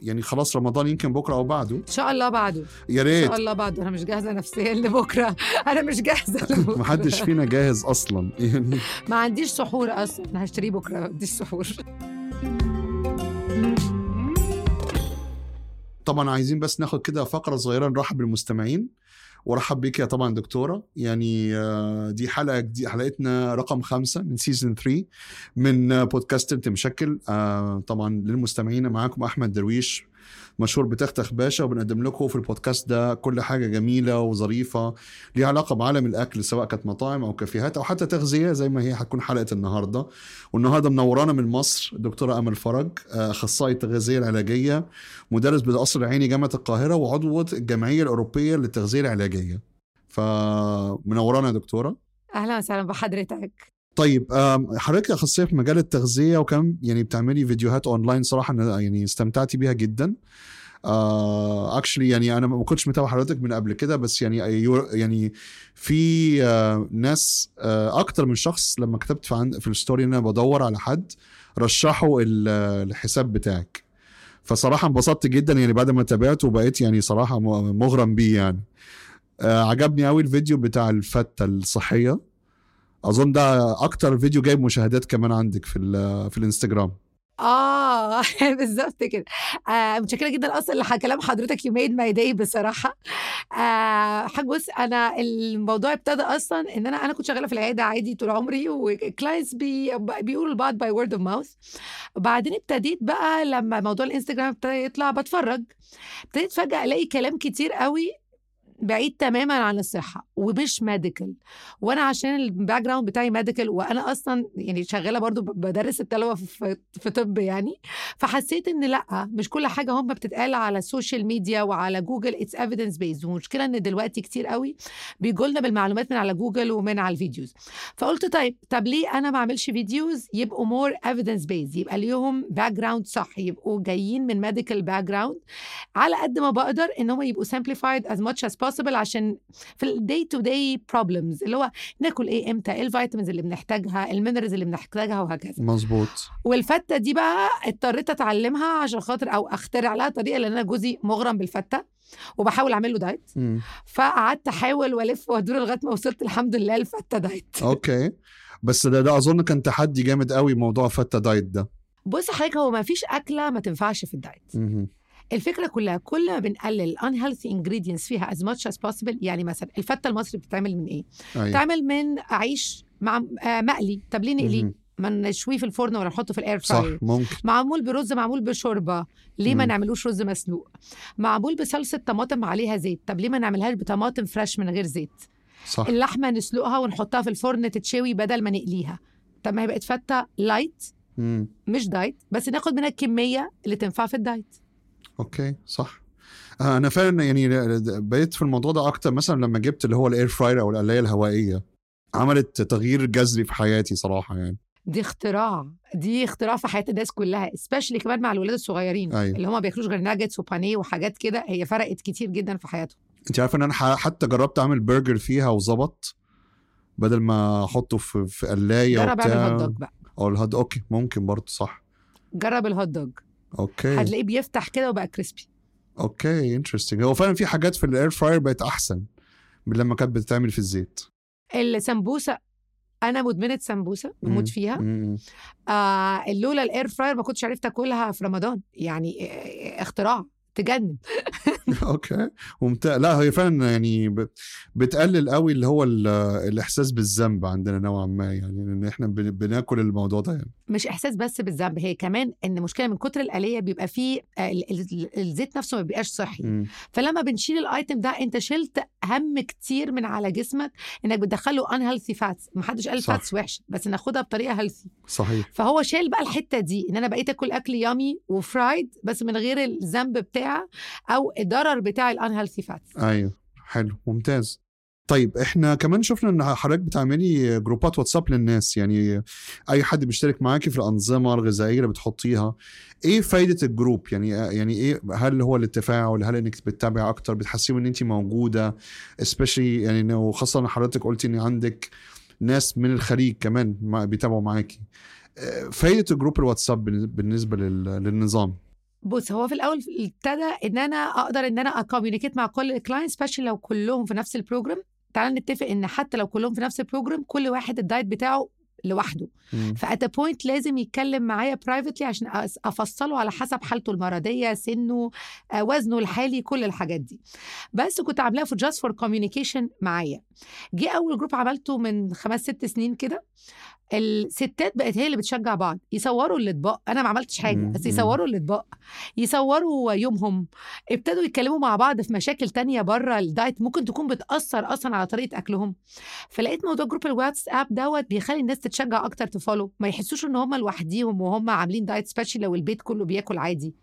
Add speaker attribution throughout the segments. Speaker 1: يعني خلاص رمضان يمكن بكره او بعده
Speaker 2: ان شاء الله بعده
Speaker 1: يا
Speaker 2: ان
Speaker 1: ريت
Speaker 2: شاء الله بعده انا مش جاهزه نفسيا لبكره انا مش جاهزه لبكره
Speaker 1: محدش فينا جاهز اصلا يعني
Speaker 2: ما عنديش سحور اصلا أنا هشتريه بكره ما عنديش سحور
Speaker 1: طبعا عايزين بس ناخد كده فقره صغيره نرحب بالمستمعين وارحب بيك يا طبعا دكتوره يعني آه، دي حلقه دي حلقتنا رقم خمسة من سيزون 3 من آه، بودكاست انت مشكل آه، طبعا للمستمعين معاكم احمد درويش مشهور بتختخ باشا وبنقدم لكم في البودكاست ده كل حاجه جميله وظريفه ليها علاقه بعالم الاكل سواء كانت مطاعم او كافيهات او حتى تغذيه زي ما هي هتكون حلقه النهارده والنهارده منورانا من مصر دكتوره امل فرج آه، اخصائي التغذيه العلاجيه مدرس بالقصر العيني جامعه القاهره وعضو الجمعيه الاوروبيه للتغذيه العلاجيه فمنورانا يا دكتوره
Speaker 2: اهلا وسهلا بحضرتك
Speaker 1: طيب آم، حضرتك اخصائيه في مجال التغذيه وكم يعني بتعملي فيديوهات اونلاين صراحه أنا يعني استمتعت بيها جدا اكشلي يعني انا ما كنتش متابع حضرتك من قبل كده بس يعني أيو- يعني في آه، ناس آه، اكتر من شخص لما كتبت في, عن- في الستوري ان انا بدور على حد رشحوا ال- الحساب بتاعك فصراحه انبسطت جدا يعني بعد ما تابعته وبقيت يعني صراحه م- مغرم بيه يعني آه، عجبني قوي الفيديو بتاع الفته الصحيه اظن ده اكتر فيديو جايب مشاهدات كمان عندك في ال- في الانستجرام
Speaker 2: اه بالظبط كده آه متشكره جدا اصلا لكلام حضرتك يو ميد ماي داي بصراحه آه حاج بص انا الموضوع ابتدى اصلا ان انا انا كنت شغاله في العياده عادي طول عمري وكلاينتس بي بيقولوا لبعض باي وورد اوف ماوث وبعدين ابتديت بقى لما موضوع الانستجرام ابتدى يطلع بتفرج ابتديت فجاه الاقي كلام كتير قوي بعيد تماما عن الصحه ومش ميديكال وانا عشان الباك جراوند بتاعي ميديكال وانا اصلا يعني شغاله برضو ب- بدرس الطلبه في في طب يعني فحسيت ان لا مش كل حاجه هم بتتقال على السوشيال ميديا وعلى جوجل اتس ايفيدنس بيز والمشكله ان دلوقتي كتير قوي بيجوا لنا بالمعلومات من على جوجل ومن على الفيديوز فقلت طيب طب ليه انا ما اعملش فيديوز يبقوا مور ايفيدنس بيز يبقى ليهم باك جراوند صح يبقوا جايين من ميديكال باك جراوند على قد ما بقدر ان هم يبقوا simplified as much as possible عشان في الداي تو داي بروبلمز اللي هو ناكل ايه امتى ايه الفيتامينز اللي بنحتاجها المينرالز اللي بنحتاجها وهكذا
Speaker 1: مظبوط
Speaker 2: والفته دي بقى اضطريت اتعلمها عشان خاطر او اخترع لها طريقه لان انا جوزي مغرم بالفته وبحاول اعمل له دايت فقعدت احاول والف وادور لغايه ما وصلت الحمد لله للفته دايت
Speaker 1: اوكي بس ده ده اظن كان تحدي جامد قوي موضوع فتا دايت ده
Speaker 2: بص حضرتك هو ما فيش اكله ما تنفعش في الدايت
Speaker 1: مهم.
Speaker 2: الفكره كلها كل ما بنقلل unhealthy ingredients فيها as much as possible يعني مثلا الفته المصري بتتعمل من ايه
Speaker 1: ايوه
Speaker 2: بتتعمل من عيش مع آه، مقلي طب ليه إيه؟ نقليه
Speaker 1: مهم.
Speaker 2: ما نشويه في الفرن ولا نحطه في الاير
Speaker 1: صح
Speaker 2: فراير
Speaker 1: ممكن
Speaker 2: معمول برز معمول بشوربه ليه ما
Speaker 1: مم.
Speaker 2: نعملوش رز مسلوق معمول بصلصه طماطم عليها زيت طب ليه ما نعملهاش بطماطم فريش من غير زيت
Speaker 1: صح
Speaker 2: اللحمه نسلقها ونحطها في الفرن تتشوي بدل ما نقليها طب ما هي بقت فته لايت
Speaker 1: مم.
Speaker 2: مش دايت بس ناخد منها الكميه اللي تنفع في الدايت
Speaker 1: اوكي صح آه، انا فعلا يعني بقيت في الموضوع ده اكتر مثلا لما جبت اللي هو الاير فراير او القلايه الهوائيه عملت تغيير جذري في حياتي صراحه يعني
Speaker 2: دي اختراع دي اختراع في حياه الناس كلها سبيشلي كمان مع الولاد الصغيرين
Speaker 1: أيوة.
Speaker 2: اللي هم ما بياكلوش غير ناجتس وبانيه وحاجات كده هي فرقت كتير جدا في حياتهم
Speaker 1: انت عارف ان انا ح- حتى جربت اعمل برجر فيها وظبط بدل ما احطه في في قلايه
Speaker 2: جرب اعمل هوت
Speaker 1: أيوة وبتاع
Speaker 2: دوج بقى
Speaker 1: او الهاد اوكي ممكن برضه صح
Speaker 2: جرب الهوت دوج
Speaker 1: اوكي
Speaker 2: هتلاقيه بيفتح كده وبقى كريسبي
Speaker 1: اوكي انترستنج هو فعلا في حاجات في الاير فراير بقت احسن من لما كانت بتتعمل في الزيت
Speaker 2: السمبوسه انا مدمنه سمبوسه بموت
Speaker 1: مم.
Speaker 2: فيها
Speaker 1: مم.
Speaker 2: آه لولا الاير فراير ما كنتش عرفت اكلها في رمضان يعني آه، اختراع تجنن
Speaker 1: اوكي ممتاز لا هي فعلا يعني بت- بتقلل قوي اللي هو ال- الاحساس بالذنب عندنا نوعا ما يعني ان احنا بن- بناكل الموضوع ده يعني
Speaker 2: مش احساس بس بالذنب هي كمان ان مشكله من كتر الاليه بيبقى فيه آه، ال- ال- الزيت نفسه ما بيبقاش صحي
Speaker 1: مم.
Speaker 2: فلما بنشيل الايتم ده انت شلت هم كتير من على جسمك انك بتدخله ان هيلثي فاتس محدش قال
Speaker 1: صح.
Speaker 2: فاتس وحش بس ناخدها بطريقه هيلثي
Speaker 1: صحيح
Speaker 2: فهو شال بقى الحته دي ان انا بقيت اكل اكل يامي وفرايد بس من غير الذنب بتاع او الضرر بتاع الان هيلثي فاتس
Speaker 1: ايوه حلو ممتاز طيب احنا كمان شفنا ان حضرتك بتعملي جروبات واتساب للناس يعني اي حد بيشترك معاكي في الانظمه الغذائيه اللي بتحطيها ايه فايده الجروب يعني يعني ايه هل هو للتفاعل هل انك بتتابع اكتر بتحسيهم ان انت موجوده سبيشلي يعني إنه- خاصه ان حضرتك قلتي ان عندك ناس من الخليج كمان مع- بيتابعوا معاكي آه، فايده الجروب الواتساب بالنسبه لل- للنظام
Speaker 2: بص هو في الاول ابتدى ان انا اقدر ان انا اكوميونيكيت مع كل الكلاينتس سبيشال لو كلهم في نفس البروجرام تعال نتفق ان حتى لو كلهم في نفس البروجرام كل واحد الدايت بتاعه لوحده
Speaker 1: مم.
Speaker 2: فات بوينت لازم يتكلم معايا برايفتلي عشان أس- افصله على حسب حالته المرضيه سنه آه، وزنه الحالي كل الحاجات دي بس كنت عاملاها في جاست فور كوميونيكيشن معايا جه اول جروب عملته من خمس ست سنين كده الستات بقت هي اللي بتشجع بعض يصوروا الاطباق انا ما عملتش حاجه
Speaker 1: مم،
Speaker 2: بس
Speaker 1: مم.
Speaker 2: يصوروا الاطباق يصوروا يومهم ابتدوا يتكلموا مع بعض في مشاكل تانية بره الدايت ممكن تكون بتاثر اصلا على طريقه اكلهم فلقيت موضوع جروب الواتساب دوت بيخلي الناس تتشجع اكتر تفولو ما يحسوش ان هم لوحديهم وهم عاملين دايت سبيشال لو البيت كله بياكل عادي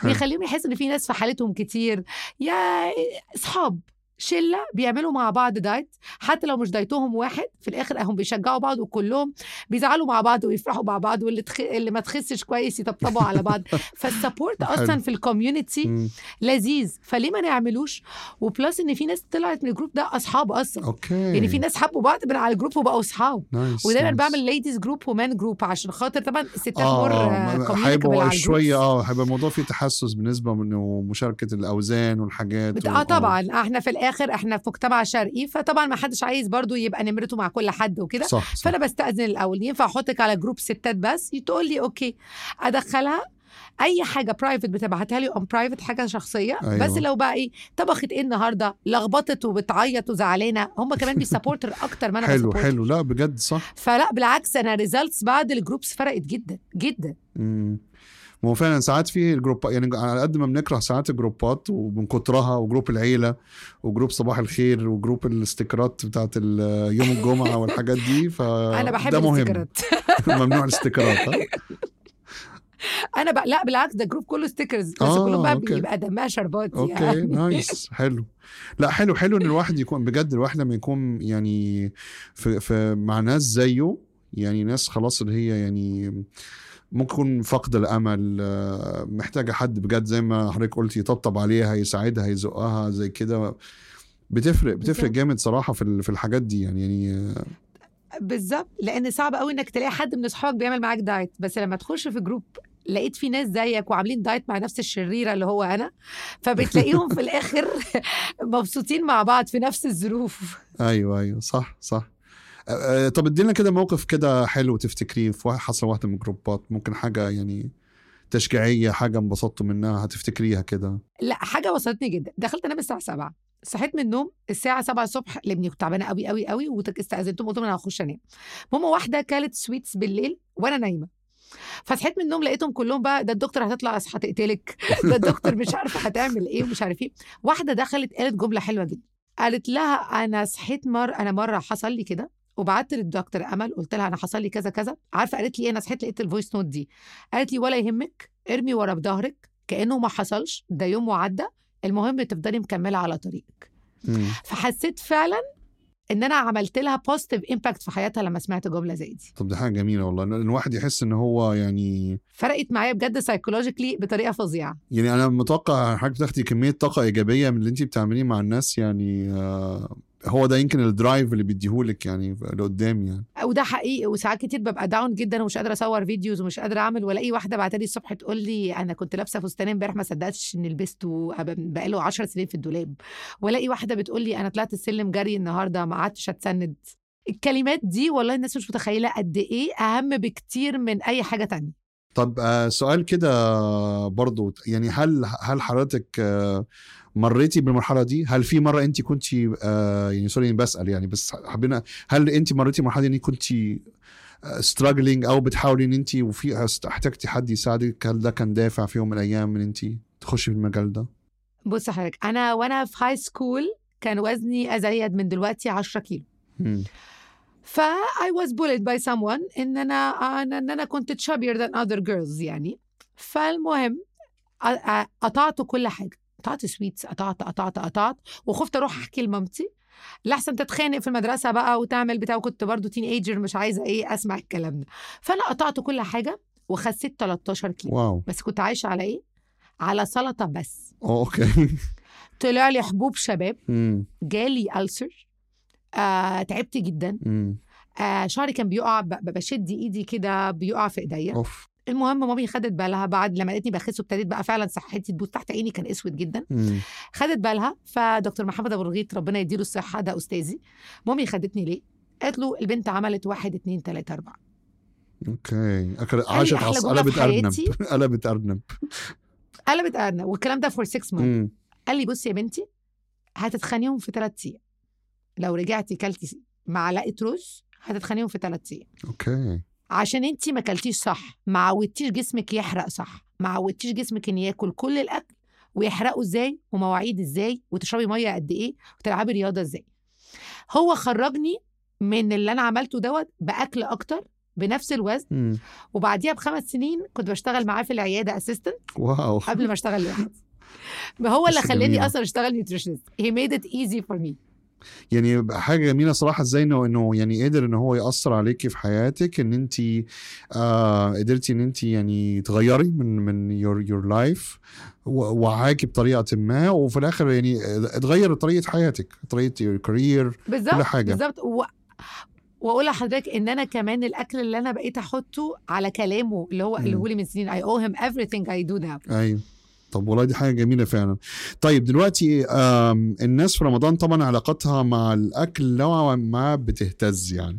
Speaker 1: حلو.
Speaker 2: بيخليهم يحسوا ان في ناس في حالتهم كتير يا اصحاب شله بيعملوا مع بعض دايت حتى لو مش دايتهم واحد في الاخر هم بيشجعوا بعض وكلهم بيزعلوا مع بعض ويفرحوا مع بعض واللي تخ... اللي ما تخسش كويس يطبطبوا على بعض فالسبورت
Speaker 1: حلو.
Speaker 2: اصلا في الكوميونتي
Speaker 1: مم.
Speaker 2: لذيذ فليه ما نعملوش وبلس ان في ناس طلعت من الجروب ده اصحاب اصلا
Speaker 1: اوكي
Speaker 2: يعني في ناس حبوا بعض من على الجروب وبقوا اصحاب
Speaker 1: نايس
Speaker 2: ودايما
Speaker 1: نايس.
Speaker 2: بعمل ليديز جروب ومان جروب عشان خاطر طبعا الستات مور
Speaker 1: اه ما-
Speaker 2: كوميونيكابل
Speaker 1: هيبقى
Speaker 2: على
Speaker 1: شويه
Speaker 2: الجروبس.
Speaker 1: اه هيبقى الموضوع فيه تحسس بالنسبه انه مشاركه الاوزان والحاجات
Speaker 2: بت...
Speaker 1: و- آه.
Speaker 2: اه طبعا احنا في الاخر احنا في مجتمع شرقي فطبعا ما حدش عايز برضو يبقى نمرته مع كل حد وكده
Speaker 1: صح, صح.
Speaker 2: فانا بستاذن الاول ينفع احطك على جروب ستات بس تقول لي اوكي ادخلها اي حاجه برايفت بتبعتها لي اون برايفت حاجه شخصيه
Speaker 1: أيوة.
Speaker 2: أيوة. بس لو بقى ايه طبخت ايه النهارده لخبطت وبتعيط وزعلانه هم كمان بيسبورتر اكتر ما انا
Speaker 1: حلو
Speaker 2: بسبورتر.
Speaker 1: حلو لا بجد صح
Speaker 2: فلا بالعكس انا ريزلتس بعد الجروبس فرقت جدا جدا
Speaker 1: مم. ما هو فعلا ساعات في الجروب يعني على قد ما بنكره ساعات الجروبات ومن كترها وجروب العيله وجروب صباح الخير وجروب الاستيكرات بتاعت ال- يوم الجمعه والحاجات دي ف
Speaker 2: انا بحب
Speaker 1: آه، ده مهم
Speaker 2: الاستيكرات
Speaker 1: ممنوع الاستيكرات آه. ها؟
Speaker 2: انا بقى لا بالعكس ده جروب كله ستيكرز بس
Speaker 1: آه،
Speaker 2: كلهم بقى
Speaker 1: أوكي.
Speaker 2: بيبقى دمها شربات
Speaker 1: اوكي
Speaker 2: يعني
Speaker 1: نايس حلو لا حلو حلو ان الواحد يكون بجد الواحد لما يكون يعني في, في مع ناس زيه يعني ناس خلاص اللي هي يعني ممكن تكون فاقده الامل آه، محتاجه حد بجد زي ما حضرتك قلت يطبطب عليها يساعدها يزقها زي كده بتفرق بتفرق
Speaker 2: بالظبط.
Speaker 1: جامد صراحه في ال- في الحاجات دي يعني يعني
Speaker 2: بالظبط لان صعب قوي انك تلاقي حد من اصحابك بيعمل معاك دايت بس لما تخش في جروب لقيت في ناس زيك وعاملين دايت مع نفس الشريره اللي هو انا فبتلاقيهم في الاخر مبسوطين مع بعض في نفس الظروف
Speaker 1: ايوه ايوه صح صح آه، آه، طب ادينا كده موقف كده حلو تفتكريه في واحد حصل واحده من الجروبات ممكن حاجه يعني تشجيعيه حاجه انبسطتوا منها هتفتكريها كده
Speaker 2: لا حاجه وصلتني جدا دخلت انام الساعه 7 صحيت من النوم الساعه 7 الصبح لاني كنت تعبانه قوي قوي قوي واستاذنتهم قلت لهم انا هخش انام ماما واحده كلت سويتس بالليل وانا نايمه فصحيت من النوم لقيتهم كلهم بقى ده الدكتور هتطلع أص- هتقتلك ده الدكتور مش عارفه هتعمل ايه ومش عارف ايه واحده دخلت قالت جمله حلوه جدا قالت لها انا صحيت مر انا مره حصل لي كده وبعت للدكتور امل قلت لها انا حصل لي كذا كذا عارفه قالت لي إيه؟ انا صحيت لقيت الفويس نوت دي قالت لي ولا يهمك ارمي ورا بظهرك كانه ما حصلش ده يوم وعدى المهم تفضلي مكمله على طريقك
Speaker 1: مم.
Speaker 2: فحسيت فعلا ان انا عملت لها بوزيتيف امباكت في حياتها لما سمعت جمله زي دي
Speaker 1: طب دي حاجه جميله والله إن الواحد يحس ان هو يعني
Speaker 2: فرقت معايا بجد سايكولوجيكلي بطريقه فظيعه
Speaker 1: يعني انا متوقع حضرتك بتاخدي كميه طاقه ايجابيه من اللي انت بتعمليه مع الناس يعني آه، هو ده يمكن الدرايف اللي بيديهولك يعني لقدام يعني
Speaker 2: وده حقيقي وساعات كتير ببقى داون جدا ومش قادره اصور فيديوز ومش قادره اعمل والاقي واحده بعتلي الصبح تقول لي انا كنت لابسه فستان امبارح ما صدقتش اني لبسته أب- بقاله 10 سنين في الدولاب والاقي واحده بتقول لي انا طلعت السلم جري النهارده ما قعدتش اتسند الكلمات دي والله الناس مش متخيله قد ايه اهم بكتير من اي حاجه تانية
Speaker 1: طب آه، سؤال كده برضو يعني هل هل حضرتك آه، مريتي بالمرحله دي هل في مره انت كنت يعني سوري إني بسال يعني بس حبينا هل انت مريتي بالمرحله دي ان كنت ستراجلينج او بتحاولي ان انت وفي احتجتي حد يساعدك هل ده كان دافع في يوم من الايام ان انت تخشي في المجال ده
Speaker 2: بص حضرتك انا وانا في هاي سكول كان وزني ازيد من دلوقتي 10 كيلو
Speaker 1: مم.
Speaker 2: فا I was bullied by someone ان انا أنا- ان انا كنت chubbier than other girls يعني فالمهم أ- أ- قطعت كل حاجه قطعت سويتس قطعت قطعت قطعت وخفت اروح احكي لمامتي لحسن تتخانق في المدرسه بقى وتعمل بتاع وكنت برضو تين ايجر مش عايزه ايه اسمع الكلام ده فانا قطعت كل حاجه وخسيت 13 كيلو
Speaker 1: واو
Speaker 2: بس كنت عايشه على ايه على سلطه بس
Speaker 1: أوه، اوكي
Speaker 2: طلع لي حبوب شباب
Speaker 1: مم.
Speaker 2: جالي ألسر آه، تعبت جدا
Speaker 1: مم.
Speaker 2: آه شعري كان بيقع ب- ب- بشد ايدي كده بيقع في ايديا
Speaker 1: اوف
Speaker 2: المهم مامي خدت بالها بعد لما لقيتني بخس وابتديت بقى فعلا صحتي تبوظ تحت عيني كان اسود جدا
Speaker 1: مم.
Speaker 2: خدت بالها فدكتور محمد ابو رغيث ربنا يديله الصحه ده استاذي مامي خدتني ليه قالت له البنت عملت واحد اتنين تلاته اربعه
Speaker 1: اوكي أكل-
Speaker 2: أي
Speaker 1: عاشت
Speaker 2: أحلى
Speaker 1: عص
Speaker 2: جملة في
Speaker 1: قلبت ارنب
Speaker 2: حياتي؟
Speaker 1: قلبت ارنب
Speaker 2: قلبت ارنب والكلام ده فور 6 مانث
Speaker 1: مم.
Speaker 2: قال لي بصي يا بنتي هتتخانيهم في ثلاث ايام لو رجعتي كلتي معلقه رز هتتخانيهم في ثلاث ايام
Speaker 1: اوكي
Speaker 2: عشان انت ما اكلتيش صح ما عودتيش جسمك يحرق صح ما عودتيش جسمك ان ياكل كل الاكل ويحرقه ازاي ومواعيد ازاي وتشربي ميه قد ايه وتلعبي رياضه ازاي هو خرجني من اللي انا عملته دوت باكل اكتر بنفس الوزن
Speaker 1: مم.
Speaker 2: وبعديها بخمس سنين كنت بشتغل معاه في العياده اسيستنت
Speaker 1: واو
Speaker 2: قبل ما اشتغل لوحدي ما هو اللي
Speaker 1: بس
Speaker 2: خلاني
Speaker 1: جميلة.
Speaker 2: اصلا اشتغل نيوتريشنست هي ميد ات ايزي فور مي
Speaker 1: يعني يبقى حاجه جميله صراحه ازاي انه انه يعني قدر ان هو ياثر عليكي في حياتك ان انت آه قدرتي ان انت يعني تغيري من من يور يور لايف وعاكي بطريقه ما وفي الاخر يعني اتغير طريقه حياتك طريقه يور كارير كل
Speaker 2: بالظبط
Speaker 1: حاجة.
Speaker 2: بالظبط و... واقول لحضرتك ان انا كمان الاكل اللي انا بقيت احطه على كلامه اللي
Speaker 1: مم.
Speaker 2: هو قاله لي من سنين اي اوه هيم everything I do now
Speaker 1: ايوه طب والله دي حاجه جميله فعلا طيب دلوقتي آم، الناس في رمضان طبعا علاقتها مع الاكل نوعا ما بتهتز يعني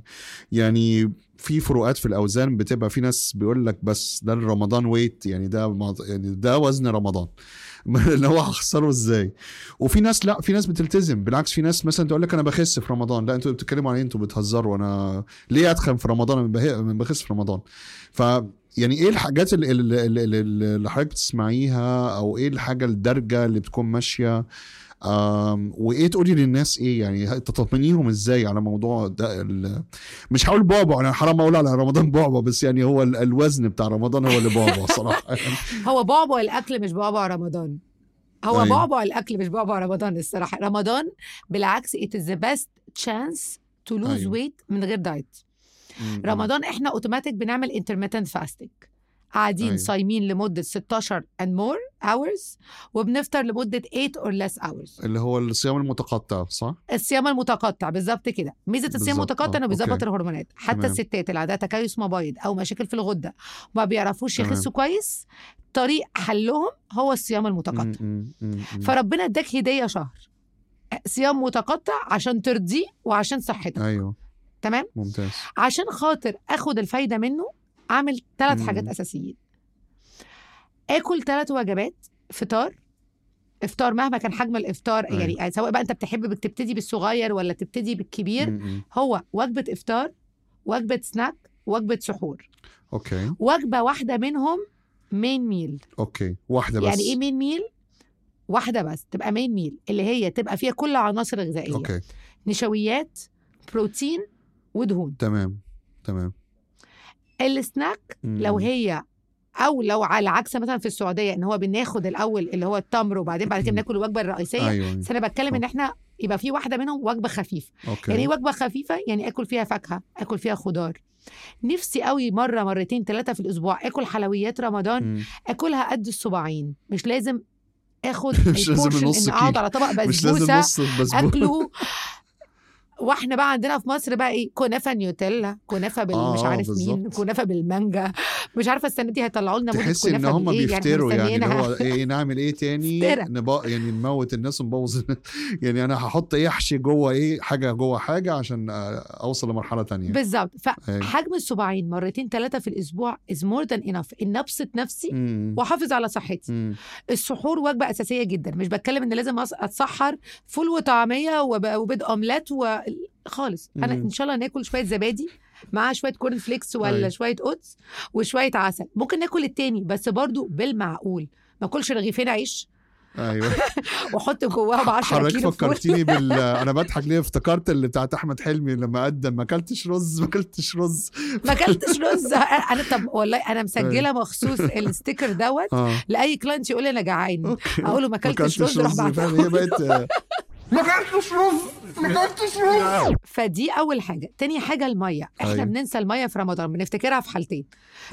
Speaker 1: يعني في فروقات في الاوزان بتبقى في ناس بيقول لك بس ده الرمضان ويت يعني ده مع- يعني ده وزن رمضان اللي هو هخسره ازاي وفي ناس لا في ناس بتلتزم بالعكس في ناس مثلا تقول لك انا بخس في رمضان لا انتوا بتتكلموا عن ايه انتوا بتهزروا انا ليه اتخن في رمضان انا بهق- أنا بخس في رمضان ف يعني ايه الحاجات اللي, اللي, اللي, اللي حضرتك بتسمعيها او ايه الحاجه الدارجه اللي بتكون ماشيه أم وايه تقولي للناس ايه يعني ه- تطمنيهم ازاي على موضوع ده ال- مش هقول بعبع انا حرام اقول على رمضان بعبع بس يعني هو ال- الوزن بتاع رمضان هو اللي بعبع صراحه يعني
Speaker 2: هو بعبع الاكل مش بعبع رمضان هو
Speaker 1: أيوة.
Speaker 2: أيوة. بعبع الاكل مش بعبع رمضان الصراحه رمضان بالعكس it is the best chance to lose
Speaker 1: أيوة.
Speaker 2: أيوة. weight من غير دايت
Speaker 1: أيوه.
Speaker 2: رمضان احنا اوتوماتيك بنعمل intermittent fasting قاعدين
Speaker 1: أيوة.
Speaker 2: أيوة. صايمين لمده 16 and more hours وبنفطر لمده 8 or less hours
Speaker 1: اللي هو الصيام المتقطع صح؟
Speaker 2: الصيام المتقطع بالظبط كده ميزه الصيام
Speaker 1: بالظبط،
Speaker 2: المتقطع
Speaker 1: آه،
Speaker 2: انه بيظبط
Speaker 1: أوكي.
Speaker 2: الهرمونات حتى
Speaker 1: تمام.
Speaker 2: الستات اللي عندها تكيس مبايض او مشاكل في الغده ما بيعرفوش
Speaker 1: تمام.
Speaker 2: يخسوا كويس طريق حلهم هو الصيام المتقطع
Speaker 1: مم، مم، مم، مم.
Speaker 2: فربنا اداك هديه شهر صيام متقطع عشان ترضيه وعشان صحتك
Speaker 1: ايوه
Speaker 2: تمام
Speaker 1: ممتاز
Speaker 2: عشان خاطر اخد الفايده منه اعمل ثلاث
Speaker 1: مم.
Speaker 2: حاجات اساسيين اكل ثلاث وجبات فطار افطار مهما كان حجم الافطار
Speaker 1: أيوة.
Speaker 2: يعني سواء بقى انت بتحب بك- تبتدي بالصغير ولا تبتدي بالكبير
Speaker 1: مم، مم.
Speaker 2: هو وجبة إفطار وجبة سناك وجبة سحور
Speaker 1: اوكي
Speaker 2: وجبة واحدة منهم مين ميل
Speaker 1: اوكي واحده بس
Speaker 2: يعني إيه مين ميل؟ واحدة بس تبقى مين ميل اللي هي تبقى فيها كل عناصر غذائية أوكي.
Speaker 1: اوكي
Speaker 2: نشويات بروتين ودهون
Speaker 1: تمام تمام
Speaker 2: السناك
Speaker 1: مم.
Speaker 2: لو هي او لو على عكس مثلا في السعوديه ان هو بناخد الاول اللي هو التمر وبعدين بعد كده بناكل الوجبه الرئيسيه أيوة.
Speaker 1: ايوه
Speaker 2: بس انا بتكلم ان
Speaker 1: صح.
Speaker 2: احنا يبقى في واحده منهم وجبه خفيفه
Speaker 1: اوكي
Speaker 2: يعني ايه وجبه خفيفه يعني اكل فيها فاكهه اكل فيها خضار نفسي قوي مره مرتين ثلاثه في الاسبوع اكل حلويات رمضان
Speaker 1: مم.
Speaker 2: اكلها قد الصباعين مش لازم اخد
Speaker 1: مش لازم
Speaker 2: البورشن
Speaker 1: نص
Speaker 2: ان اقعد
Speaker 1: كيلو.
Speaker 2: على طبق
Speaker 1: مش لازم
Speaker 2: بسبوسه
Speaker 1: نص البسبوسه
Speaker 2: اكله واحنا بقى عندنا في مصر بقى ايه كنافه نيوتيلا كنافه بال
Speaker 1: آه،
Speaker 2: مش
Speaker 1: آه،
Speaker 2: عارف مين
Speaker 1: بالظبط.
Speaker 2: كنافه بالمانجا مش عارفه السنه دي هيطلعوا لنا موضه
Speaker 1: تحس ان
Speaker 2: كنافه
Speaker 1: هم
Speaker 2: بالإيه، إحنا
Speaker 1: بيفتروا يعني اللي
Speaker 2: مستنيينها.
Speaker 1: هو ايه نعمل ايه تاني
Speaker 2: افترا.
Speaker 1: نبق يعني نموت الناس ونبوظ الناس. يعني انا هحط ايه احشي جوه ايه حاجه جوه حاجه عشان آه، اوصل لمرحله تانية
Speaker 2: بالظبط
Speaker 1: أيوة.
Speaker 2: فحجم الصباعين مرتين ثلاثه في الاسبوع از مور ذان انف ان ابسط نفسي
Speaker 1: مم.
Speaker 2: واحافظ على صحتي
Speaker 1: مم.
Speaker 2: السحور وجبه اساسيه جدا مش بتكلم ان لازم أص- اتسحر فول وطعميه وب- وبيض اومليت و... خالص انا
Speaker 1: مم.
Speaker 2: ان شاء الله ناكل شويه زبادي مع شويه كورن فليكس ولا
Speaker 1: أيوة.
Speaker 2: شويه اوتس وشويه عسل ممكن ناكل التاني بس برضو بالمعقول ما اكلش رغيفين عيش
Speaker 1: ايوه
Speaker 2: واحط جواهم 10
Speaker 1: حضرتك
Speaker 2: كيلو فول
Speaker 1: فكرتيني بال انا بضحك ليه افتكرت اللي بتاعت احمد حلمي لما قدم ما اكلتش رز ما اكلتش رز
Speaker 2: ما اكلتش رز انا طب والله انا مسجله
Speaker 1: أيوة.
Speaker 2: مخصوص الستيكر دوت
Speaker 1: اه
Speaker 2: لاي كلاينت يقول لي انا جعان
Speaker 1: أوكي.
Speaker 2: اقول له ما اكلتش رز اروح
Speaker 1: فاهم هي
Speaker 2: بعتها
Speaker 1: بقت آه،
Speaker 3: ما كانتش رز ما كانتش رز
Speaker 2: آه. فدي اول حاجه تاني حاجه الميه احنا
Speaker 1: أيوة.
Speaker 2: أيوة. بننسى الميه في رمضان بنفتكرها في حالتين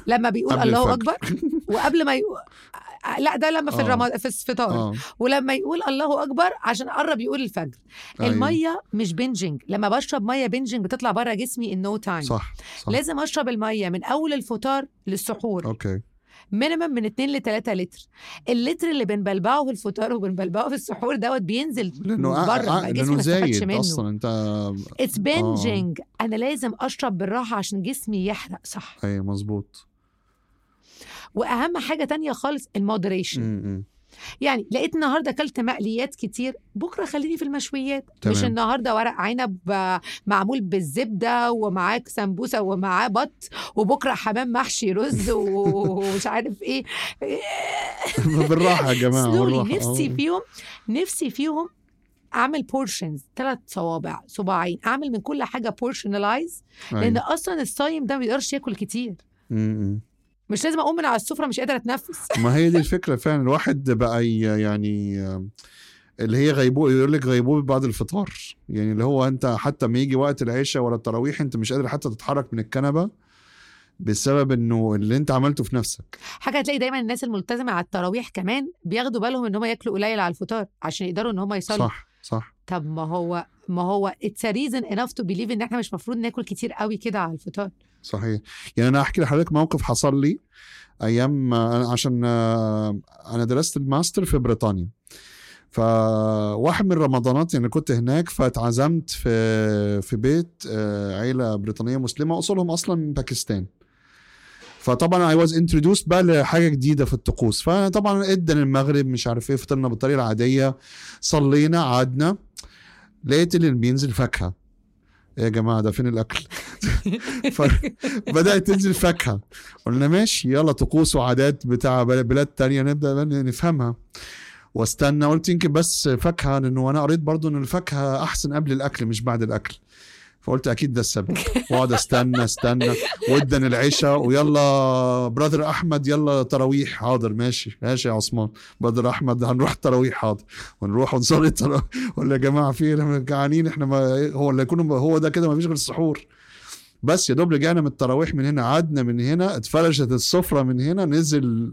Speaker 2: لما بيقول
Speaker 1: قبل
Speaker 2: الله
Speaker 1: الفجر.
Speaker 2: اكبر وقبل ما يقول لا ده لما في
Speaker 1: آه.
Speaker 2: الرمضان في الفطار
Speaker 1: اه
Speaker 2: ولما يقول الله اكبر عشان قرب يقول الفجر
Speaker 1: أيوة.
Speaker 2: الميه مش بنجنج لما بشرب ميه بنجنج بتطلع بره جسمي ان نو تايم
Speaker 1: صح صح
Speaker 2: يعني. لازم اشرب الميه من اول الفطار للسحور
Speaker 1: اوكي
Speaker 2: مينيمم من 2 ل 3 لتر اللتر اللي بنبلبعه في الفطار وبنبلبعه في السحور دوت بينزل
Speaker 1: لانه آه،
Speaker 2: بره
Speaker 1: آه،
Speaker 2: ما جسمي
Speaker 1: لانه
Speaker 2: ما استفادش
Speaker 1: زايد
Speaker 2: منه
Speaker 1: اصلا انت
Speaker 2: اتس
Speaker 1: آه.
Speaker 2: بنجنج انا لازم اشرب بالراحه عشان جسمي يحرق صح
Speaker 1: اي مظبوط
Speaker 2: واهم حاجه تانية خالص المودريشن
Speaker 1: م- م.
Speaker 2: يعني لقيت النهارده اكلت مقليات كتير بكره خليني في المشويات
Speaker 1: تمام.
Speaker 2: مش النهارده ورق عنب آه، معمول بالزبده ومعاك سمبوسه ومعاه بط وبكره حمام محشي رز و- ومش عارف ايه
Speaker 1: بالراحه يا جماعه
Speaker 2: سلولي
Speaker 1: بالراحة.
Speaker 2: نفسي
Speaker 1: آه.
Speaker 2: فيهم نفسي فيهم اعمل بورشنز ثلاث صوابع صباعين اعمل من كل حاجه بورشنلايز لان
Speaker 1: أيوة.
Speaker 2: اصلا الصايم ده ما بيقدرش ياكل كتير
Speaker 1: م- م.
Speaker 2: مش لازم اقوم من على السفره مش قادره اتنفس
Speaker 1: ما هي دي الفكره فعلا الواحد بقى ي- يعني آم، اللي هي غيبوبه يقول لك غيبوبه بعد الفطار يعني اللي هو انت حتى ما يجي وقت العشاء ولا التراويح انت مش قادر حتى تتحرك من الكنبه بسبب انه اللي انت عملته في نفسك
Speaker 2: حاجه هتلاقي دايما الناس الملتزمه على التراويح كمان بياخدوا بالهم ان هم ياكلوا قليل على الفطار عشان يقدروا ان هم يصلوا
Speaker 1: صح صح
Speaker 2: طب ما هو ما هو اتس ريزن انف تو بليف ان احنا مش مفروض ناكل كتير قوي كده على الفطار
Speaker 1: صحيح يعني انا احكي لحضرتك موقف حصل لي ايام أنا عشان آه، انا درست الماستر في بريطانيا فواحد من رمضانات يعني كنت هناك فاتعزمت في في بيت آه، عيله بريطانيه مسلمه اصولهم اصلا من باكستان فطبعا اي واز انتروديوس بقى لحاجه جديده في الطقوس فطبعا ادن المغرب مش عارف ايه فطرنا بالطريقه العاديه صلينا قعدنا لقيت اللي بينزل فاكهه إيه يا جماعه ده فين الاكل فبدات تنزل فاكهه قلنا ماشي يلا طقوس وعادات بتاع بل- بلاد تانية نبدا بقى نفهمها واستنى قلت يمكن بس فاكهه لانه انا قريت برضو ان الفاكهه احسن قبل الاكل مش بعد الاكل فقلت اكيد ده السبب واقعد استنى استنى ودن العشاء ويلا براذر احمد يلا تراويح حاضر ماشي ماشي يا عثمان براذر احمد هنروح تراويح حاضر ونروح ونصلي التراويح ولا يا جماعه في إيه؟ احنا جعانين احنا ما هو اللي يكون هو ده كده ما فيش غير السحور بس يا دوب رجعنا من التراويح من هنا قعدنا من هنا اتفرشت السفره من هنا نزل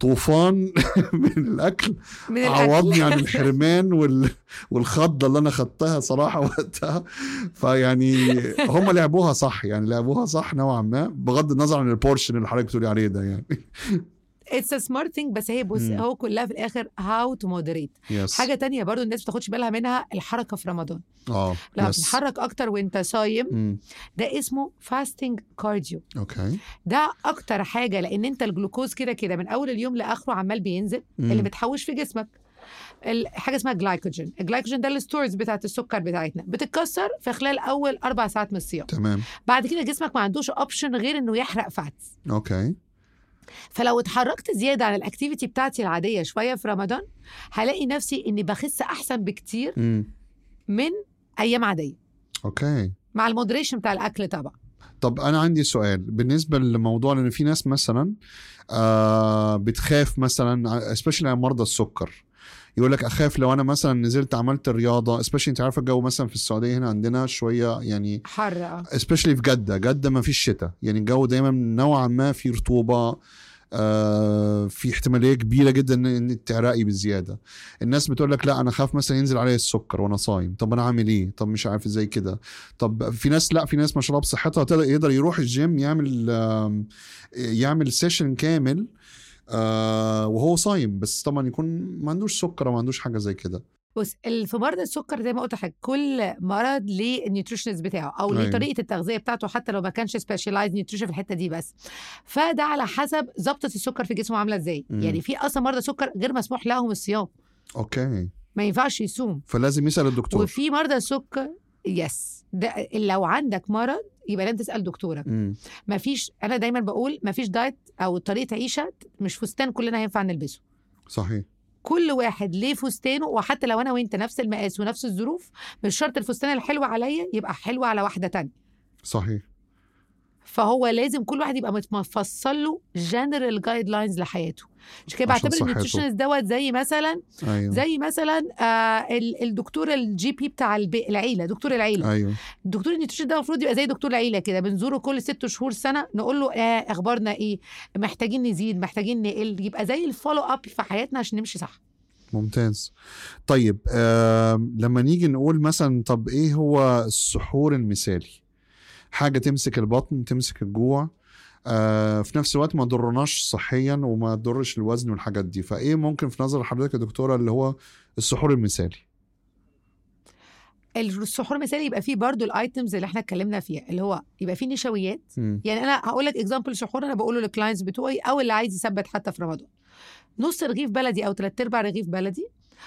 Speaker 1: طوفان من الاكل
Speaker 2: من
Speaker 1: عوضني
Speaker 2: الاكل
Speaker 1: عن الحرمان وال... والخضه اللي انا خدتها صراحه وقتها فيعني هم لعبوها صح يعني لعبوها صح نوعا ما بغض النظر عن البورشن اللي حضرتك بتقولي عليه ده يعني
Speaker 2: اتس سمارت ثينج بس هي بص
Speaker 1: مم.
Speaker 2: هو كلها في الاخر هاو تو مودريت
Speaker 1: يس
Speaker 2: حاجه تانية برضو الناس ما بتاخدش بالها منها الحركه في رمضان
Speaker 1: اه
Speaker 2: لما
Speaker 1: يس.
Speaker 2: بتتحرك اكتر وانت صايم
Speaker 1: مم.
Speaker 2: ده اسمه فاستنج كارديو
Speaker 1: اوكي
Speaker 2: ده اكتر حاجه لان انت الجلوكوز كده كده من اول اليوم لاخره عمال بينزل
Speaker 1: مم.
Speaker 2: اللي بتحوش في جسمك ال- حاجه اسمها جلايكوجين الجلايكوجين ده الستورز بتاعه السكر بتاعتنا بتتكسر في خلال اول اربع ساعات من الصيام
Speaker 1: تمام
Speaker 2: بعد كده جسمك ما عندوش اوبشن غير انه يحرق فاتس
Speaker 1: اوكي
Speaker 2: فلو اتحركت زياده عن الاكتيفيتي بتاعتي العاديه شويه في رمضان هلاقي نفسي اني بخس احسن بكتير
Speaker 1: مم.
Speaker 2: من ايام عاديه
Speaker 1: اوكي
Speaker 2: مع المودريشن بتاع الاكل طبعا
Speaker 1: طب انا عندي سؤال بالنسبه لموضوع لان في ناس مثلا آه بتخاف مثلا سبيشلي مرضى السكر يقول لك اخاف لو انا مثلا نزلت عملت الرياضه سبيشلي انت عارفه الجو مثلا في السعوديه هنا عندنا شويه يعني
Speaker 2: حر آه.
Speaker 1: سبيشلي في جده جده ما فيش شتاء يعني الجو دايما نوعا ما في رطوبه آه في احتماليه كبيره جدا ان إن تعرقي بزياده الناس بتقول لك لا انا خاف مثلا ينزل عليا السكر وانا صايم طب انا عامل ايه طب مش عارف زي كده طب في ناس لا في ناس ما شاء الله بصحتها تقدر- يقدر يروح الجيم يعمل آم، يعمل سيشن كامل آه وهو صايم بس طبعا يكون ما عندوش سكر او ما عندوش حاجه زي كده
Speaker 2: بص ال- في مرض السكر زي ما قلت لحضرتك كل مرض ليه النيوتريشنز بتاعه او ليه
Speaker 1: أيوة.
Speaker 2: طريقه التغذيه بتاعته حتى لو ما كانش سبيشالايز نيوتريشن في الحته دي بس فده على حسب ضبطه السكر في جسمه عامله ازاي
Speaker 1: مم.
Speaker 2: يعني في اصلا مرضى سكر غير مسموح لهم الصيام
Speaker 1: اوكي
Speaker 2: ما ينفعش يصوم
Speaker 1: فلازم يسال الدكتور
Speaker 2: وفي مرضى السكر يس ده لو عندك مرض يبقى لازم تسال دكتورك
Speaker 1: مم.
Speaker 2: مفيش انا دايما بقول مفيش دايت او طريقه عيشه مش فستان كلنا هينفع نلبسه
Speaker 1: صحيح
Speaker 2: كل واحد ليه فستانه وحتى لو انا وانت نفس المقاس ونفس الظروف مش شرط الفستان الحلو عليا يبقى حلو على واحده تانية
Speaker 1: صحيح
Speaker 2: فهو لازم كل واحد يبقى مت- مفصل له جنرال جايد لاينز لحياته عشان كده
Speaker 1: عشان
Speaker 2: بعتبر
Speaker 1: صحته.
Speaker 2: النيوتريشنست دوت زي مثلا
Speaker 1: ايوه
Speaker 2: زي مثلا آه ال- الدكتور الجي بي بتاع البي العيله دكتور العيله
Speaker 1: ايوه
Speaker 2: دكتور النيوتريشن ده المفروض يبقى زي دكتور العيله كده بنزوره كل ست شهور سنه نقول له آه اخبارنا ايه محتاجين نزيد محتاجين نقل يبقى زي الفولو اب في حياتنا عشان نمشي صح
Speaker 1: ممتاز طيب آم، لما نيجي نقول مثلا طب ايه هو السحور المثالي حاجه تمسك البطن تمسك الجوع آه، في نفس الوقت ما ضرناش صحيا وما تضرش الوزن والحاجات دي فايه ممكن في نظر حضرتك يا دكتوره اللي هو السحور المثالي
Speaker 2: السحور مثالي يبقى فيه برضو الايتمز اللي احنا اتكلمنا فيها اللي هو يبقى فيه نشويات
Speaker 1: مم.
Speaker 2: يعني انا هقول لك اكزامبل سحور انا بقوله للكلاينتس بتوعي او اللي عايز يثبت حتى في رمضان نص رغيف بلدي او ثلاث ارباع رغيف بلدي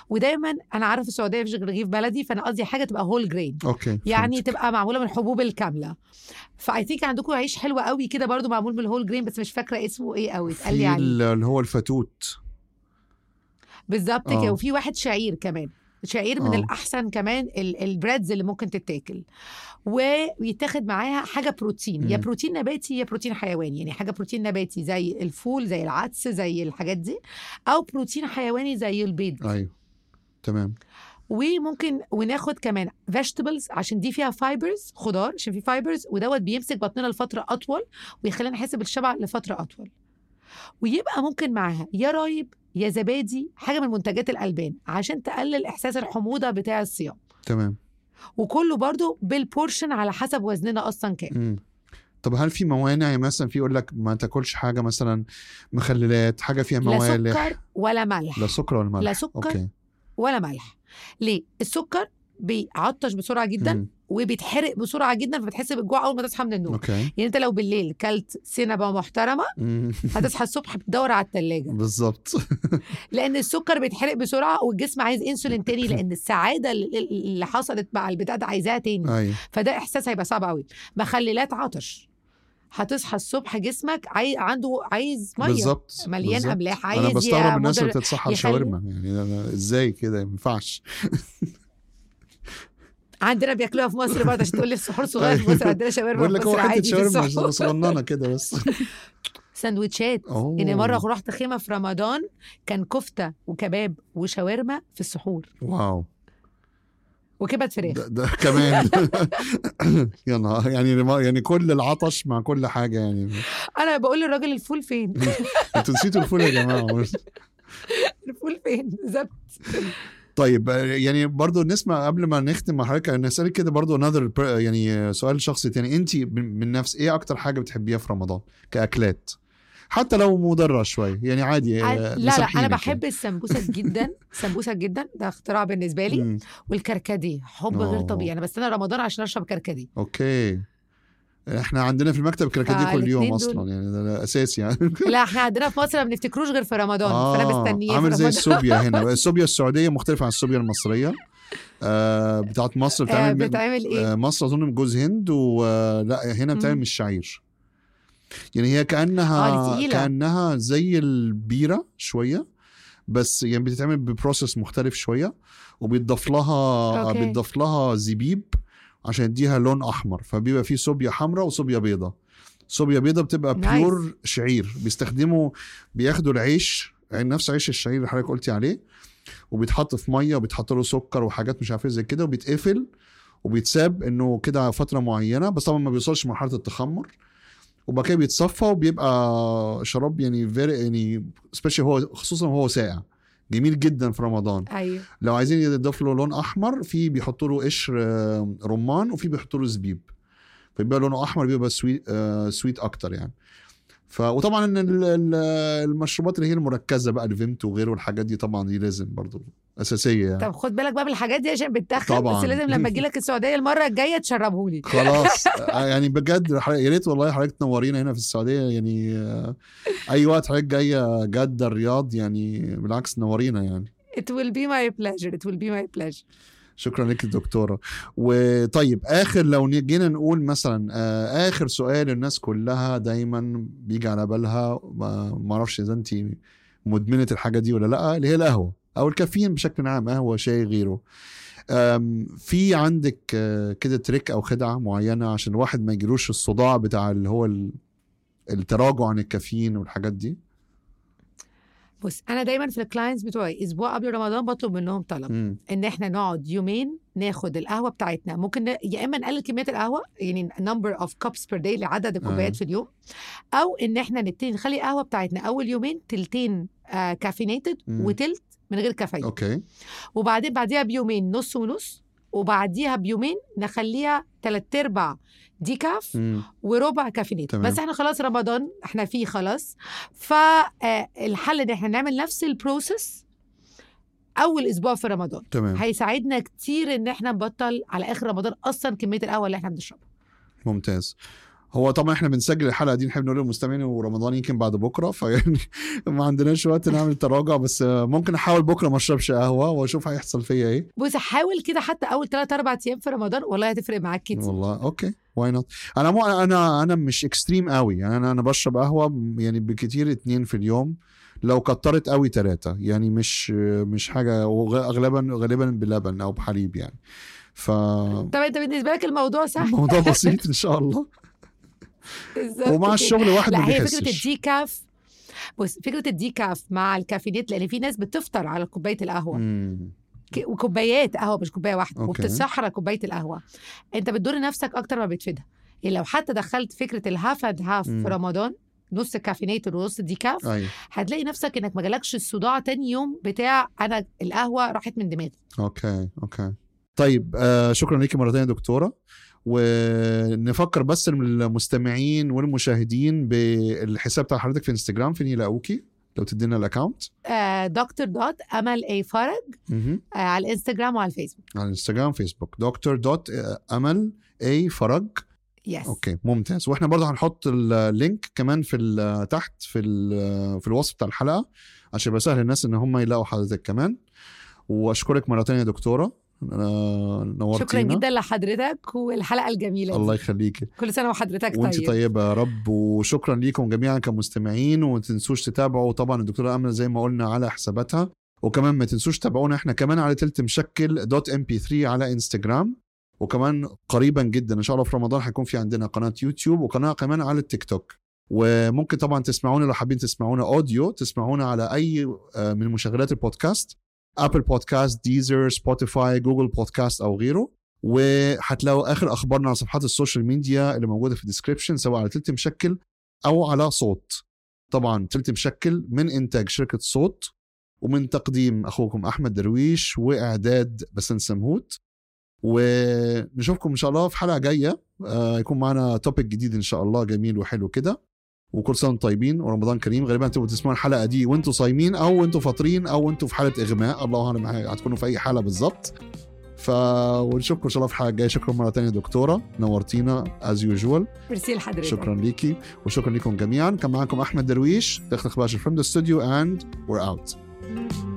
Speaker 2: ودايما انا عارف السعوديه مفيش غير رغيف بلدي فانا قصدي حاجه تبقى هول جرين
Speaker 1: اوكي
Speaker 2: يعني
Speaker 1: فهمتك.
Speaker 2: تبقى معموله من الحبوب الكامله فاي ثينك عندكم عيش حلو قوي كده برضو معمول من الهول جرين بس مش فاكره اسمه ايه قوي اتقال لي
Speaker 1: في
Speaker 2: عليه
Speaker 1: ال- اللي هو الفتوت
Speaker 2: بالظبط
Speaker 1: آه.
Speaker 2: كده وفي واحد شعير كمان شعير من
Speaker 1: آه.
Speaker 2: أوه. الاحسن كمان ال- البريدز اللي ممكن تتاكل ويتاخد معاها حاجه بروتين يا
Speaker 1: مم.
Speaker 2: بروتين نباتي يا بروتين حيواني يعني حاجه بروتين نباتي زي الفول زي العدس زي الحاجات دي او بروتين حيواني زي البيض
Speaker 1: ايوه تمام
Speaker 2: وممكن وناخد كمان فيجيتابلز عشان دي فيها فايبرز خضار عشان في فايبرز ودوت بيمسك بطننا لفتره اطول ويخلينا نحس بالشبع لفتره اطول ويبقى ممكن معاها يا رايب يا زبادي حاجه من منتجات الالبان عشان تقلل احساس الحموضه بتاع الصيام
Speaker 1: تمام
Speaker 2: وكله برضو بالبورشن على حسب وزننا اصلا كام
Speaker 1: مم. طب هل في موانع يعني مثلا في يقول لك ما تاكلش حاجه مثلا مخللات حاجه فيها
Speaker 2: لا
Speaker 1: موالح
Speaker 2: سكر ولا ملح
Speaker 1: لا سكر ولا ملح
Speaker 2: لا سكر
Speaker 1: اوكي
Speaker 2: ولا ملح ليه السكر بيعطش بسرعه جدا
Speaker 1: مم.
Speaker 2: وبيتحرق بسرعه جدا فبتحس بالجوع اول ما تصحى من النوم
Speaker 1: اوكي
Speaker 2: يعني انت لو بالليل كلت سينبا محترمه
Speaker 1: مم.
Speaker 2: هتصحى الصبح بتدور على الثلاجه
Speaker 1: بالظبط
Speaker 2: لان السكر بيتحرق بسرعه والجسم عايز انسولين تاني لان السعاده اللي- اللي حصلت مع البتاع ده عايزاها تاني
Speaker 1: ايوه
Speaker 2: فده احساس هيبقى صعب قوي مخللات عطش هتصحى الصبح جسمك عاي... عنده عايز ميه
Speaker 1: بالظبط
Speaker 2: مليان
Speaker 1: بالظبط.
Speaker 2: املاح عايز
Speaker 1: انا بستغرب
Speaker 2: يا
Speaker 1: الناس اللي
Speaker 2: مدر-
Speaker 1: بتتصحى على
Speaker 2: يخلي-
Speaker 1: الشاورما يعني أنا ازاي كده ما ينفعش
Speaker 2: عندنا بياكلوها في مصر برضه عشان تقول لي السحور صغير في مصر عندنا شاورما
Speaker 1: بقول
Speaker 2: في
Speaker 1: لك هو
Speaker 2: مصر
Speaker 1: حته
Speaker 2: عادي في
Speaker 1: شاورما
Speaker 2: السحور
Speaker 1: صغننه كده بس
Speaker 2: سندوتشات
Speaker 1: أوه.
Speaker 2: يعني مره رحت خيمه في رمضان كان كفته وكباب وشاورما في السحور
Speaker 1: واو
Speaker 2: وكبد فراخ
Speaker 1: ده, ده كمان يا نهار يعني يعني كل العطش مع كل حاجه يعني
Speaker 2: انا بقول للراجل الفول فين
Speaker 1: انتوا نسيتوا الفول يا جماعه
Speaker 2: الفول فين بالظبط
Speaker 1: طيب يعني برضو نسمع قبل ما نختم مع حضرتك انا اسالك كده برضو another per- يعني سؤال شخصي تاني انت من من نفس ايه اكتر حاجه بتحبيها في رمضان كاكلات حتى لو مضره شويه يعني عادي آه،
Speaker 2: لا لا
Speaker 1: مسامحينك
Speaker 2: انا
Speaker 1: يعني.
Speaker 2: بحب السمبوسه جدا سمبوسه جدا ده اختراع بالنسبه لي
Speaker 1: مم.
Speaker 2: والكركديه حب غير
Speaker 1: أوه.
Speaker 2: طبيعي انا بستنى رمضان عشان اشرب كركديه
Speaker 1: اوكي احنا عندنا في المكتب كراكيدي كل يوم
Speaker 2: فالاتنين
Speaker 1: اصلا
Speaker 2: دول-
Speaker 1: يعني ده- ده اساسي يعني
Speaker 2: لا احنا عندنا في مصر ما بنفتكروش غير في رمضان فانا مستنيه
Speaker 1: آه، عامل
Speaker 2: في
Speaker 1: زي
Speaker 2: رمضان.
Speaker 1: السوبيا هنا السوبيا السعوديه مختلفه عن السوبيا المصريه آه بتاعت مصر
Speaker 2: آه،
Speaker 1: بتعمل من-
Speaker 2: بتعمل ايه
Speaker 1: آه، مصر اظن من جوز هند ولا آه، هنا بتعمل
Speaker 2: مم.
Speaker 1: من الشعير يعني هي
Speaker 2: آه،
Speaker 1: كانها
Speaker 2: دي تقيلة.
Speaker 1: كانها زي البيره شويه بس يعني بتتعمل ببروسيس مختلف شويه وبيتضاف لها
Speaker 2: أوكي.
Speaker 1: بيتضاف لها زبيب عشان يديها لون احمر فبيبقى فيه صوبيا حمراء وصوبيا بيضاء صوبيا بيضاء بتبقى
Speaker 2: Nice.
Speaker 1: بيور شعير بيستخدموا بياخدوا العيش يعني نفس عيش الشعير اللي حضرتك قلتي عليه وبيتحط في ميه وبيتحط له سكر وحاجات مش عارف ايه زي كده وبيتقفل وبيتساب انه كده فتره معينه بس طبعا ما بيوصلش مرحله التخمر وبعد كده بيتصفى وبيبقى شراب يعني فيري يعني سبيشال هو خصوصا وهو ساقع جميل جدا في رمضان
Speaker 2: ايوه
Speaker 1: لو عايزين يضيف له لون احمر في بيحطوا له قشر آه، رمان وفي بيحطوا له زبيب فبيبقى لونه احمر بيبقى سويت آه سويت اكتر يعني ف وطبعا ال- ال- المشروبات اللي هي المركزه بقى الفيمتو وغيره والحاجات دي طبعا دي لازم برضو اساسيه يعني
Speaker 2: طب خد بالك بقى من الحاجات دي عشان بتدخل
Speaker 1: طبعاً.
Speaker 2: بس لازم لما اجي لك السعوديه المره الجايه تشربهولي
Speaker 1: خلاص آه، يعني بجد حضرتك- يا ريت والله حضرتك تنورينا هنا في السعوديه يعني آه، اي وقت حضرتك جايه جده الرياض يعني بالعكس نورينا يعني
Speaker 2: it will be my pleasure it will be my pleasure
Speaker 1: شكرا لك دكتوره وطيب اخر لو ن- جينا نقول مثلا آه، اخر سؤال الناس كلها دايما بيجي على بالها ما- ما اعرفش اذا انت مدمنه الحاجه دي ولا لا اللي هي القهوه او الكافيين بشكل عام قهوه شاي غيره أم، في عندك آه، كده تريك او خدعه معينه عشان الواحد ما يجيلوش الصداع بتاع اللي هو ال- التراجع عن الكافيين والحاجات دي
Speaker 2: بص انا دايما في الكلاينتس بتوعي اسبوع قبل رمضان بطلب منهم طلب
Speaker 1: مم.
Speaker 2: ان احنا نقعد يومين ناخد القهوه بتاعتنا ممكن ن- يا اما نقلل كميه القهوه يعني نمبر اوف كابس بير داي لعدد الكوبايات
Speaker 1: آه.
Speaker 2: في اليوم او ان احنا نبتدي نخلي القهوه بتاعتنا اول يومين تلتين كافينيتد
Speaker 1: مم.
Speaker 2: وتلت من غير كافيين
Speaker 1: اوكي
Speaker 2: وبعدين بعديها بيومين نص ونص وبعديها بيومين نخليها تلات ارباع ديكاف
Speaker 1: مم.
Speaker 2: وربع كافينيت
Speaker 1: تمام.
Speaker 2: بس احنا خلاص رمضان احنا فيه خلاص آه، فالحل ان احنا نعمل نفس البروسيس اول اسبوع في رمضان
Speaker 1: تمام
Speaker 2: هيساعدنا كتير ان احنا نبطل على اخر رمضان اصلا كميه القهوه اللي احنا بنشربها
Speaker 1: ممتاز هو طبعا احنا بنسجل الحلقه دي نحب نقول للمستمعين ورمضان يمكن بعد بكره فيعني ما عندناش وقت نعمل تراجع بس آه، ممكن احاول بكره ما اشربش قهوه واشوف هيحصل فيا ايه
Speaker 2: بص حاول كده حتى اول 3 4 ايام في رمضان والله هتفرق معاك كتير
Speaker 1: والله اوكي واي نوت انا مو انا انا مش اكستريم قوي يعني انا انا بشرب قهوه م- يعني بكتير اتنين في اليوم لو كترت قوي تلاتة يعني مش مش حاجه وغالبا غالبا بلبن او بحليب يعني ف
Speaker 2: طب انت بالنسبه لك الموضوع سهل
Speaker 1: الموضوع بسيط ان شاء الله
Speaker 2: بالظبط
Speaker 1: ومع
Speaker 2: كده.
Speaker 1: الشغل واحد ما
Speaker 2: لا هي فكره
Speaker 1: بيحسش
Speaker 2: الديكاف بص فكره الديكاف مع الكافينات لان في ناس بتفطر على كوبايه القهوه
Speaker 1: مم.
Speaker 2: ك- وكوبايات قهوه مش كوبايه واحده
Speaker 1: أوكي.
Speaker 2: وبتتسحر على كوبايه القهوه انت بتضر نفسك اكتر ما بتفيدها يعني لو حتى دخلت فكره الهاف اند هاف في
Speaker 1: مم.
Speaker 2: رمضان نص كافينيتد ونص ديكاف
Speaker 1: ايوه
Speaker 2: هتلاقي نفسك انك ما جالكش الصداع تاني يوم بتاع انا القهوه راحت من دماغي
Speaker 1: اوكي اوكي طيب آه شكرا ليكي مرة تانية يا دكتورة ونفكر بس المستمعين والمشاهدين بالحساب بتاع حضرتك في انستجرام فين يلاقوكي لو تدينا الاكونت
Speaker 2: آه دكتور دوت امل اي فرج
Speaker 1: مهم.
Speaker 2: آه على الانستجرام وعلى الفيسبوك
Speaker 1: على انستجرام فيسبوك دكتور دوت امل اي فرج
Speaker 2: يس
Speaker 1: اوكي ممتاز واحنا برضه هنحط اللينك كمان في ال- تحت في ال- في الوصف بتاع الحلقه عشان يبقى سهل للناس ان هم يلاقوا حضرتك كمان واشكرك مره تانية يا دكتوره آه، نورتينا
Speaker 2: شكرا جدا لحضرتك والحلقه الجميله
Speaker 1: الله
Speaker 2: دي
Speaker 1: يخليكي
Speaker 2: كل سنه وحضرتك
Speaker 1: وانت
Speaker 2: طيب
Speaker 1: طيبه يا رب وشكرا ليكم جميعا كمستمعين وما تنسوش تتابعوا طبعا الدكتوره امنه زي ما قلنا على حساباتها وكمان ما تنسوش تتابعونا احنا كمان على تلت مشكل دوت ام بي 3 على انستجرام وكمان قريبا جدا ان شاء الله في رمضان هيكون في عندنا قناه يوتيوب وقناه كمان على التيك توك وممكن طبعا تسمعونا لو حابين تسمعونا اوديو تسمعونا على اي آه، من مشغلات البودكاست ابل بودكاست ديزر سبوتيفاي جوجل بودكاست او غيره وهتلاقوا اخر اخبارنا على صفحات السوشيال ميديا اللي موجوده في الديسكربشن سواء على تلت مشكل او على صوت طبعا تلت مشكل من انتاج شركه صوت ومن تقديم اخوكم احمد درويش واعداد بسن سمهوت ونشوفكم ان شاء الله في حلقه جايه آه، يكون معانا توبيك جديد ان شاء الله جميل وحلو كده وكل سنه وانتم طيبين ورمضان كريم غالبا هتبقوا تسمعوا الحلقه دي وانتوا صايمين او وانتوا فاطرين او وانتوا في حاله اغماء الله اعلم هتكونوا في اي حاله بالظبط ف ونشوفكم ان شاء الله في الحلقه الجايه شكرا مره تانية يا دكتوره نورتينا از يوجوال
Speaker 2: ميرسي لحضرتك
Speaker 1: شكرا ليكي وشكرا ليكم جميعا كان معاكم احمد درويش تخت اخبار من الاستوديو اند وير اوت
Speaker 2: شكرا